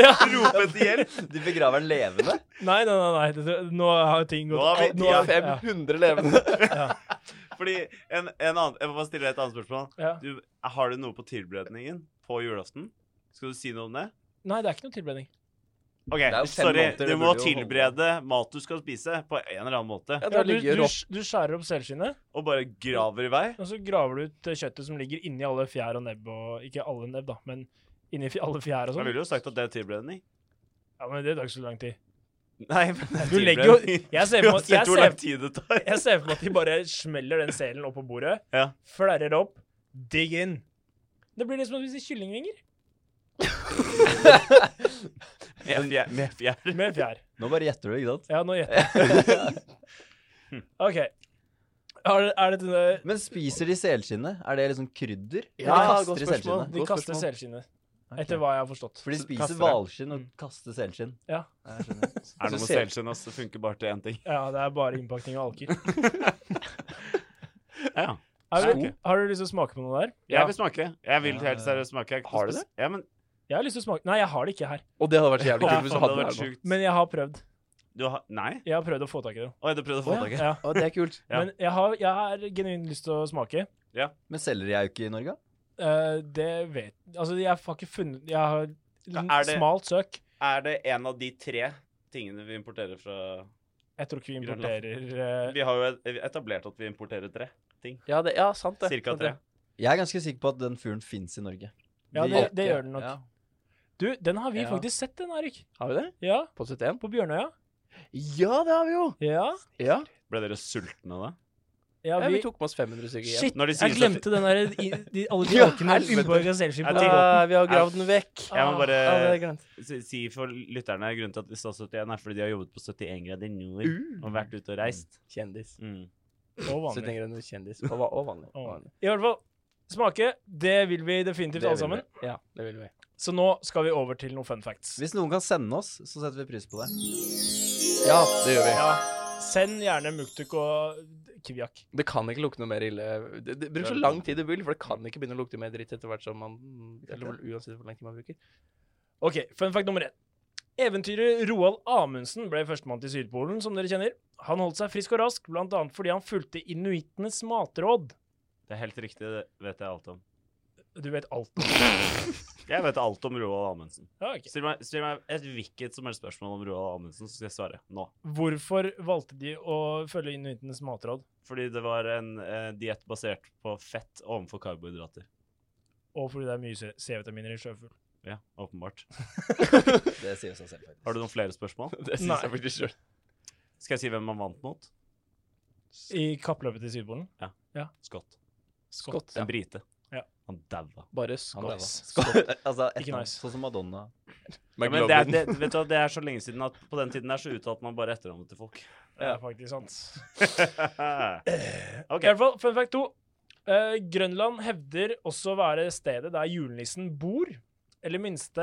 [SPEAKER 2] ja.
[SPEAKER 4] Rope etter hjelp.
[SPEAKER 1] (laughs) Du begraver den
[SPEAKER 4] (laughs)
[SPEAKER 1] levende.
[SPEAKER 2] Nei, nei, nei, nei. dette- Nå har ting gått
[SPEAKER 4] Nå har vi-
[SPEAKER 2] nå
[SPEAKER 3] De har
[SPEAKER 2] er- ja,
[SPEAKER 3] 500 levende.
[SPEAKER 4] Fordi en, en annen, Jeg må bare stille deg et annet spørsmål.
[SPEAKER 2] ja.
[SPEAKER 4] Du, har du noe på tilberedningen på julaften? Skal du si noe om det?
[SPEAKER 2] Nei, det er ikke noe tilbredning.
[SPEAKER 4] OK,
[SPEAKER 1] er jo fem
[SPEAKER 4] sorry.
[SPEAKER 1] måneder,
[SPEAKER 4] Du
[SPEAKER 1] det
[SPEAKER 4] må
[SPEAKER 1] burde jo holde.
[SPEAKER 4] tilberede mat du skal spise, på en eller annen måte.
[SPEAKER 3] Ja,
[SPEAKER 2] Ja,
[SPEAKER 3] da
[SPEAKER 2] du,
[SPEAKER 3] ligger
[SPEAKER 2] du,
[SPEAKER 3] opp.
[SPEAKER 2] du skjærer opp selskinnet,
[SPEAKER 4] Og bare graver i vei.
[SPEAKER 2] og så graver du ut eh, kjøttet som ligger inni alle fjær og nebb og Ikke alle nebb, da, men inni fj- alle fjær og
[SPEAKER 4] Jeg
[SPEAKER 2] sånn.
[SPEAKER 4] ville jo sagt at det er tilberedning.
[SPEAKER 2] Ja, men det tar ikke så lang tid.
[SPEAKER 4] Nei, men det er
[SPEAKER 2] Du legger jo
[SPEAKER 4] tilberedning.
[SPEAKER 2] Jeg
[SPEAKER 4] (laughs)
[SPEAKER 2] ser for meg- jeg
[SPEAKER 4] Uansett hvor lang
[SPEAKER 2] ser-
[SPEAKER 4] tid det tar.
[SPEAKER 2] jeg ser for meg at de bare smeller den selen opp på bordet,
[SPEAKER 4] Ja.
[SPEAKER 2] flerrer det opp, digg inn. Det blir liksom å spise kyllingvinger.
[SPEAKER 4] Med fjær. Med fjær.
[SPEAKER 2] Med fjær.
[SPEAKER 1] Nå bare gjetter du, ikke sant?
[SPEAKER 2] Ja, nå gjetter jeg.
[SPEAKER 4] (laughs)
[SPEAKER 2] OK. Er, er det denne
[SPEAKER 1] Men spiser de selskinnet? Er det liksom krydder?
[SPEAKER 3] Ja,
[SPEAKER 1] Eller
[SPEAKER 3] godt
[SPEAKER 1] kaster de
[SPEAKER 3] spørsmål.
[SPEAKER 1] selskinnet?
[SPEAKER 2] De
[SPEAKER 3] Godt
[SPEAKER 2] kaster
[SPEAKER 3] spørsmål.
[SPEAKER 2] selskinnet, etter hva jeg har forstått.
[SPEAKER 1] For de
[SPEAKER 3] kaster
[SPEAKER 1] spiser
[SPEAKER 3] det.
[SPEAKER 1] hvalskinn og kaster selskinn.
[SPEAKER 2] Ja.
[SPEAKER 1] Jeg skjønner.
[SPEAKER 4] Er det noe med
[SPEAKER 3] Så ser-
[SPEAKER 4] selvskinn? ass? Det funker bare til én ting.
[SPEAKER 2] ja, det er bare innpakning av
[SPEAKER 4] (laughs)
[SPEAKER 2] alker.
[SPEAKER 4] Ja.
[SPEAKER 2] Er du,
[SPEAKER 4] Sko?
[SPEAKER 2] har du lyst til å smake på noe der? Ja.
[SPEAKER 4] Jeg vil smake. Jeg vil helt seriøst smake. Jeg er ikke
[SPEAKER 3] Har du
[SPEAKER 4] spes-
[SPEAKER 3] det?
[SPEAKER 4] Ja, men
[SPEAKER 2] Jeg har lyst til å smake Nei, jeg har det ikke her.
[SPEAKER 3] (laughs) Og det hadde vært så jævlig
[SPEAKER 2] Ja,
[SPEAKER 3] kult hvis
[SPEAKER 4] faen, det hadde
[SPEAKER 3] du hadde det
[SPEAKER 4] vært
[SPEAKER 3] her nå.
[SPEAKER 4] sjukt.
[SPEAKER 2] Men jeg har prøvd.
[SPEAKER 4] Du har Nei?
[SPEAKER 2] Jeg har prøvd å få tak i det.
[SPEAKER 4] Oi, du prøvde å få
[SPEAKER 3] Å,
[SPEAKER 4] tak i det.
[SPEAKER 2] Ja.
[SPEAKER 3] Å, det er kult.
[SPEAKER 4] Ja.
[SPEAKER 2] Men jeg har, jeg har genuint lyst til å smake.
[SPEAKER 1] Men selger de auke i Norge?
[SPEAKER 2] Eh, det vet Altså, jeg har ikke funnet Jeg har
[SPEAKER 4] Er det-
[SPEAKER 2] smalt søk.
[SPEAKER 4] Er det en av de tre tingene vi importerer fra
[SPEAKER 2] Jeg tror ikke vi
[SPEAKER 4] Grønland.
[SPEAKER 2] importerer eh,
[SPEAKER 4] Vi har jo etablert at vi importerer tre.
[SPEAKER 3] Ja, det, ja sant det.
[SPEAKER 4] Cirka
[SPEAKER 3] sant
[SPEAKER 4] tre.
[SPEAKER 3] det.
[SPEAKER 1] Jeg er ganske sikker på at den fyren fins i Norge.
[SPEAKER 2] Ja,
[SPEAKER 1] De-
[SPEAKER 2] det, det gjør den nok.
[SPEAKER 1] Ja.
[SPEAKER 2] Du, den har vi
[SPEAKER 3] Ja.
[SPEAKER 2] faktisk sett, den, Erik.
[SPEAKER 3] Har vi det?
[SPEAKER 2] Ja,
[SPEAKER 3] På 71?
[SPEAKER 2] på Bjørnøya.
[SPEAKER 3] Ja, det har vi jo!
[SPEAKER 2] Ja.
[SPEAKER 3] Ja,
[SPEAKER 4] Ble dere sultne da?
[SPEAKER 2] ja
[SPEAKER 3] ja vi,
[SPEAKER 2] vi,
[SPEAKER 3] tok med oss 500 stykker hjem.
[SPEAKER 2] Shit,
[SPEAKER 4] Når de sier
[SPEAKER 2] jeg
[SPEAKER 4] så-
[SPEAKER 2] glemte den der i- de, Alle de
[SPEAKER 3] Ja,
[SPEAKER 2] alkene
[SPEAKER 3] helvete.
[SPEAKER 2] innpå organiseringskip på
[SPEAKER 4] Jeg
[SPEAKER 2] den
[SPEAKER 4] tenker-
[SPEAKER 2] måten.
[SPEAKER 3] Ah, vi har gravd den vekk.
[SPEAKER 4] Jeg må bare
[SPEAKER 3] Ja, det er glemt.
[SPEAKER 4] si- si for lytterne grunnen til at vi sa 71, er fordi de har jobbet på 71 grader nord
[SPEAKER 3] Uh.
[SPEAKER 4] og vært ute og reist.
[SPEAKER 3] Kjendis.
[SPEAKER 4] Mm.
[SPEAKER 2] Og
[SPEAKER 3] Så
[SPEAKER 2] vanlig.
[SPEAKER 3] tenker jeg noe kjendis. Og, va- og vanlig.
[SPEAKER 2] Og
[SPEAKER 3] Og
[SPEAKER 2] vanlig.
[SPEAKER 3] vanlig.
[SPEAKER 2] I hvert fall, smake. Det vil vi definitivt
[SPEAKER 3] Det
[SPEAKER 2] alle
[SPEAKER 3] vil
[SPEAKER 2] sammen.
[SPEAKER 3] vi. Ja, det vil vi.
[SPEAKER 2] Så nå skal vi over til noen fun facts.
[SPEAKER 1] Hvis noen kan sende oss, så setter vi pris på det.
[SPEAKER 3] Ja, det gjør vi.
[SPEAKER 2] Ja, send gjerne Muktuk og Kviak.
[SPEAKER 3] Det kan ikke lukte noe mer ille. Det, det bruk så lang tid du vil, for det kan ikke begynne å lukte mer dritt etter hvert som man Eller vel uansett hvor lang tid man bruker.
[SPEAKER 2] Ok, fun fact nummer én. Eventyrer Roald Amundsen ble førstemann til Sydpolen, som dere kjenner. Han holdt seg frisk og rask, bl.a. fordi han fulgte inuittenes matråd.
[SPEAKER 4] Det er helt riktig, det vet jeg alt om.
[SPEAKER 2] Du vet alt.
[SPEAKER 4] Jeg vet alt om Roald Amundsen.
[SPEAKER 2] Ja, ok.
[SPEAKER 4] Still meg, still meg et hvilket som helst spørsmål om Roald Amundsen, så skal jeg svare nå.
[SPEAKER 2] Hvorfor valgte de å følge inuittenes matråd
[SPEAKER 4] Fordi det var en eh, diett basert på fett overfor karbohydrater.
[SPEAKER 2] og fordi det er mye C-vitaminer i sjøfugl?
[SPEAKER 4] Ja, åpenbart.
[SPEAKER 1] Det sier seg selv, faktisk.
[SPEAKER 4] Har du noen flere
[SPEAKER 1] (laughs)
[SPEAKER 4] spørsmål?
[SPEAKER 3] Det
[SPEAKER 2] Nei.
[SPEAKER 3] syns jeg faktisk sjøl.
[SPEAKER 4] Skal jeg si hvem man vant mot?
[SPEAKER 2] I kappløpet til Sydpolen?
[SPEAKER 4] Scott.
[SPEAKER 3] Skott.
[SPEAKER 4] En
[SPEAKER 3] Ja.
[SPEAKER 4] brite.
[SPEAKER 2] Ja.
[SPEAKER 4] Han daua.
[SPEAKER 3] Bare
[SPEAKER 1] Han
[SPEAKER 3] skott.
[SPEAKER 1] døde.
[SPEAKER 2] Skott.
[SPEAKER 1] (laughs) altså, et
[SPEAKER 2] Ikke
[SPEAKER 1] navn,
[SPEAKER 2] nice.
[SPEAKER 1] sånn som Madonna.
[SPEAKER 4] Ja, men det, er, det, vet du, hva, det er så lenge siden at på den tiden der så uttalte man bare
[SPEAKER 1] (laughs)
[SPEAKER 4] etternavnet til folk.
[SPEAKER 2] Det er faktisk sant.
[SPEAKER 4] OK.
[SPEAKER 2] I hvert fall, fun fact to. Eh, Grønland hevder også å være stedet der julenissen bor. Eller minste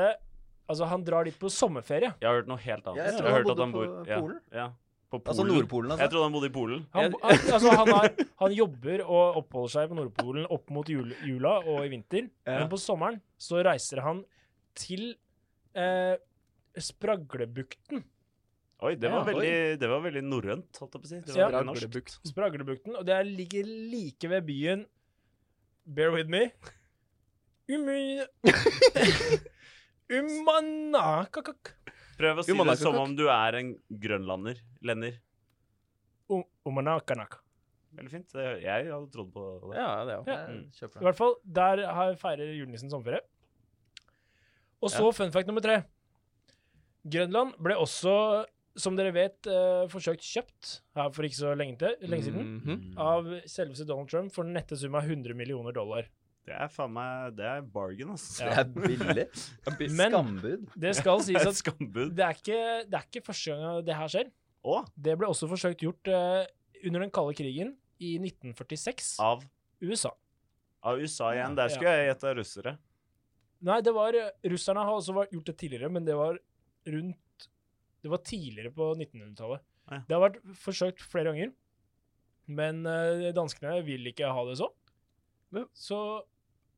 [SPEAKER 2] Altså, han drar dit på sommerferie.
[SPEAKER 4] Jeg har hørt noe helt annet.
[SPEAKER 1] Jeg tror
[SPEAKER 4] har
[SPEAKER 1] han
[SPEAKER 4] hørt at
[SPEAKER 1] bodde
[SPEAKER 4] bor-
[SPEAKER 1] på
[SPEAKER 4] ja,
[SPEAKER 1] Polen.
[SPEAKER 4] Ja, på Polen.
[SPEAKER 1] Altså Nordpolen,
[SPEAKER 4] Jeg
[SPEAKER 1] altså.
[SPEAKER 4] trodde han bodde i Polen.
[SPEAKER 2] Han,
[SPEAKER 3] Jeg-
[SPEAKER 2] han, altså, han, er, han jobber og oppholder seg på Nordpolen opp mot jul, jula og i vinter.
[SPEAKER 4] Ja.
[SPEAKER 2] Men på sommeren så reiser han til eh, Spraglebukten.
[SPEAKER 4] Oi, det var
[SPEAKER 2] Ja,
[SPEAKER 4] veldig, det var veldig norrønt, holdt jeg på å si. Det var
[SPEAKER 2] Ja.
[SPEAKER 4] veldig norsk.
[SPEAKER 3] Braglebukt.
[SPEAKER 2] Spraglebukten, og det er- ligger like ved byen Bear with me. Umy- Umanakakak.
[SPEAKER 4] Prøv å si
[SPEAKER 1] altså,
[SPEAKER 4] det
[SPEAKER 3] Umanakakak.
[SPEAKER 4] som om du er en grønlander. Lender.
[SPEAKER 2] Um- Umanakanaka.
[SPEAKER 4] Veldig fint. Det- Jeg hadde trodd på det.
[SPEAKER 3] Ja, det er jo.
[SPEAKER 2] Ja.
[SPEAKER 4] Mm.
[SPEAKER 1] Jeg
[SPEAKER 2] I
[SPEAKER 1] kjøper det.
[SPEAKER 2] hvert fall, der har- feirer julenissen sommerferie. Og så fun fact nummer tre. Grønland ble også, som dere vet, eh, forsøkt kjøpt her for ikke så lenge, til, lenge siden
[SPEAKER 3] Mhm.
[SPEAKER 1] Mm.
[SPEAKER 2] av selveste Donald Trump for den nette sum av 100 millioner dollar.
[SPEAKER 4] Det er faen meg Det er bargain, ass.
[SPEAKER 1] Det
[SPEAKER 4] (laughs)
[SPEAKER 1] er billig.
[SPEAKER 2] Men-
[SPEAKER 1] Skambud.
[SPEAKER 2] Det skal
[SPEAKER 4] Det
[SPEAKER 2] sies
[SPEAKER 4] er et
[SPEAKER 2] at
[SPEAKER 4] skambud.
[SPEAKER 2] det er ikke, det er ikke første gang det her skjer.
[SPEAKER 4] Å,
[SPEAKER 2] Det ble også forsøkt gjort eh, under den kalde krigen i 1946.
[SPEAKER 4] av,
[SPEAKER 2] USA.
[SPEAKER 4] av USA igjen.
[SPEAKER 2] Ja.
[SPEAKER 4] Der skulle jeg gjette russere.
[SPEAKER 2] Nei, det var eh, Russerne har også vært- gjort det tidligere, men det var rundt Det var tidligere på 1900-tallet.
[SPEAKER 4] Ja.
[SPEAKER 2] Det har vært forsøkt flere ganger, men eh, danskene vil ikke ha det sånn.
[SPEAKER 3] Men-
[SPEAKER 2] Så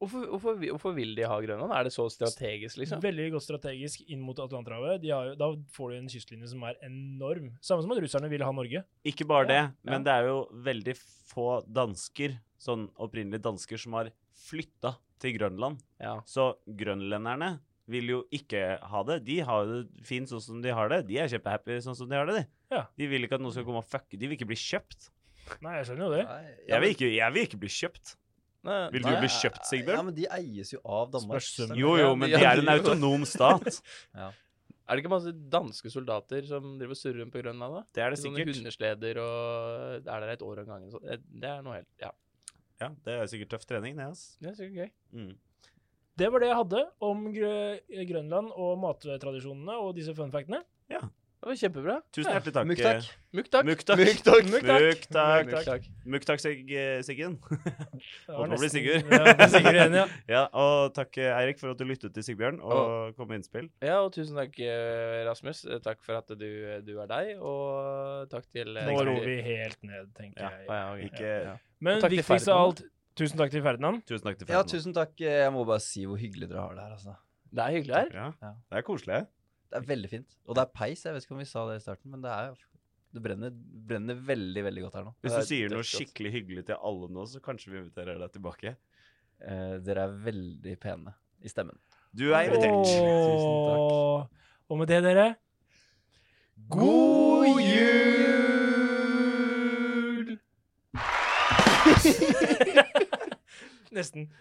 [SPEAKER 3] Hvorfor, hvorfor, vi- hvorfor vil de ha Grønland? Er det så strategisk, liksom?
[SPEAKER 2] veldig godt strategisk inn mot Atlanterhavet. De har, jo- da får du en kystlinje som er enorm. Samme som at russerne vil ha Norge.
[SPEAKER 4] Ikke bare det,
[SPEAKER 3] ja.
[SPEAKER 4] men det er jo veldig få dansker, sånn opprinnelig dansker, som har flytta til Grønland.
[SPEAKER 3] Ja.
[SPEAKER 4] Så grønlenderne vil jo ikke ha det. De har det fint sånn som de har det. De er kjempehappy sånn som de har det, de.
[SPEAKER 2] Ja.
[SPEAKER 4] De vil ikke at noen skal komme og fucke. De vil ikke bli kjøpt.
[SPEAKER 2] Nei, jeg skjønner jo det.
[SPEAKER 1] Nei, ja,
[SPEAKER 4] Jeg vil
[SPEAKER 1] men-
[SPEAKER 4] ikke, jeg vil ikke bli kjøpt.
[SPEAKER 3] Nei,
[SPEAKER 4] Vil du
[SPEAKER 1] Nei,
[SPEAKER 4] bli kjøpt,
[SPEAKER 1] Ja,
[SPEAKER 4] Sigbjørn?
[SPEAKER 1] men de eies jo av Danmark.
[SPEAKER 2] Spørs hvem.
[SPEAKER 1] så-
[SPEAKER 4] Jo, jo, men de er en autonom stat.
[SPEAKER 3] Er det ikke masse danske soldater som driver og surrer rundt på Grønland, da?
[SPEAKER 4] Det er det
[SPEAKER 3] Sånne
[SPEAKER 4] sikkert.
[SPEAKER 3] hundesleder og Er der et år av gangen? Så det, det er noe helt Ja.
[SPEAKER 4] Ja, det er sikkert tøff trening, det, ass.
[SPEAKER 3] Det er sikkert gøy.
[SPEAKER 4] Mm.
[SPEAKER 2] Det var det jeg hadde om Grø- Grønland og mattradisjonene og disse funfactene.
[SPEAKER 3] Det var kjempebra.
[SPEAKER 4] Tusen hjertelig takk. eh,
[SPEAKER 1] Muktak.
[SPEAKER 3] Muktak.
[SPEAKER 4] Muktak.
[SPEAKER 3] Muktak.
[SPEAKER 4] Muktak.
[SPEAKER 2] Muktak.
[SPEAKER 3] Muktak.
[SPEAKER 4] Muktak, Sig eh, Siggen. (laughs)
[SPEAKER 2] Det
[SPEAKER 4] Og
[SPEAKER 2] var
[SPEAKER 4] nå blir
[SPEAKER 2] nesten-
[SPEAKER 4] Sigurd.
[SPEAKER 2] Ja, det er Sigurd igjen, ja.
[SPEAKER 4] Ja, og takk, eh, Eirik, for at du lyttet til Sigbjørn og kom med innspill.
[SPEAKER 3] Ja, og tusen takk, eh, Rasmus. Eh, Takk for at du, du er deg, og takk til eh,
[SPEAKER 2] Nå ror vi helt ned, tenker
[SPEAKER 4] Ja.
[SPEAKER 2] jeg.
[SPEAKER 3] Ah, ja, ok.
[SPEAKER 4] Ikke,
[SPEAKER 3] Ja.
[SPEAKER 2] Men
[SPEAKER 3] Og takk til
[SPEAKER 2] viktigst av
[SPEAKER 3] Ferdinand.
[SPEAKER 2] alt, tusen takk til Ferdinand.
[SPEAKER 4] Tusen takk til
[SPEAKER 1] Ja,
[SPEAKER 4] Ferdinand.
[SPEAKER 1] tusen takk. Jeg må bare si hvor hyggelig dere har det her, altså.
[SPEAKER 3] Det er hyggelig her.
[SPEAKER 4] Ja.
[SPEAKER 1] Ja.
[SPEAKER 4] Det er koselig.
[SPEAKER 1] Det er veldig fint. Og det er peis. Jeg vet ikke om vi sa det i starten, men det er Det brenner, brenner veldig, veldig godt her nå.
[SPEAKER 4] Hvis
[SPEAKER 3] Det
[SPEAKER 4] du
[SPEAKER 3] er
[SPEAKER 4] sier noe
[SPEAKER 3] dødsgodt.
[SPEAKER 4] skikkelig hyggelig til alle nå, så kanskje vi inviterer deg tilbake.
[SPEAKER 1] Eh, dere er veldig pene i stemmen.
[SPEAKER 4] Du er invitert.
[SPEAKER 2] Åh. Og med det, dere
[SPEAKER 4] God jul!
[SPEAKER 2] (laughs)
[SPEAKER 3] (laughs)
[SPEAKER 2] Nesten.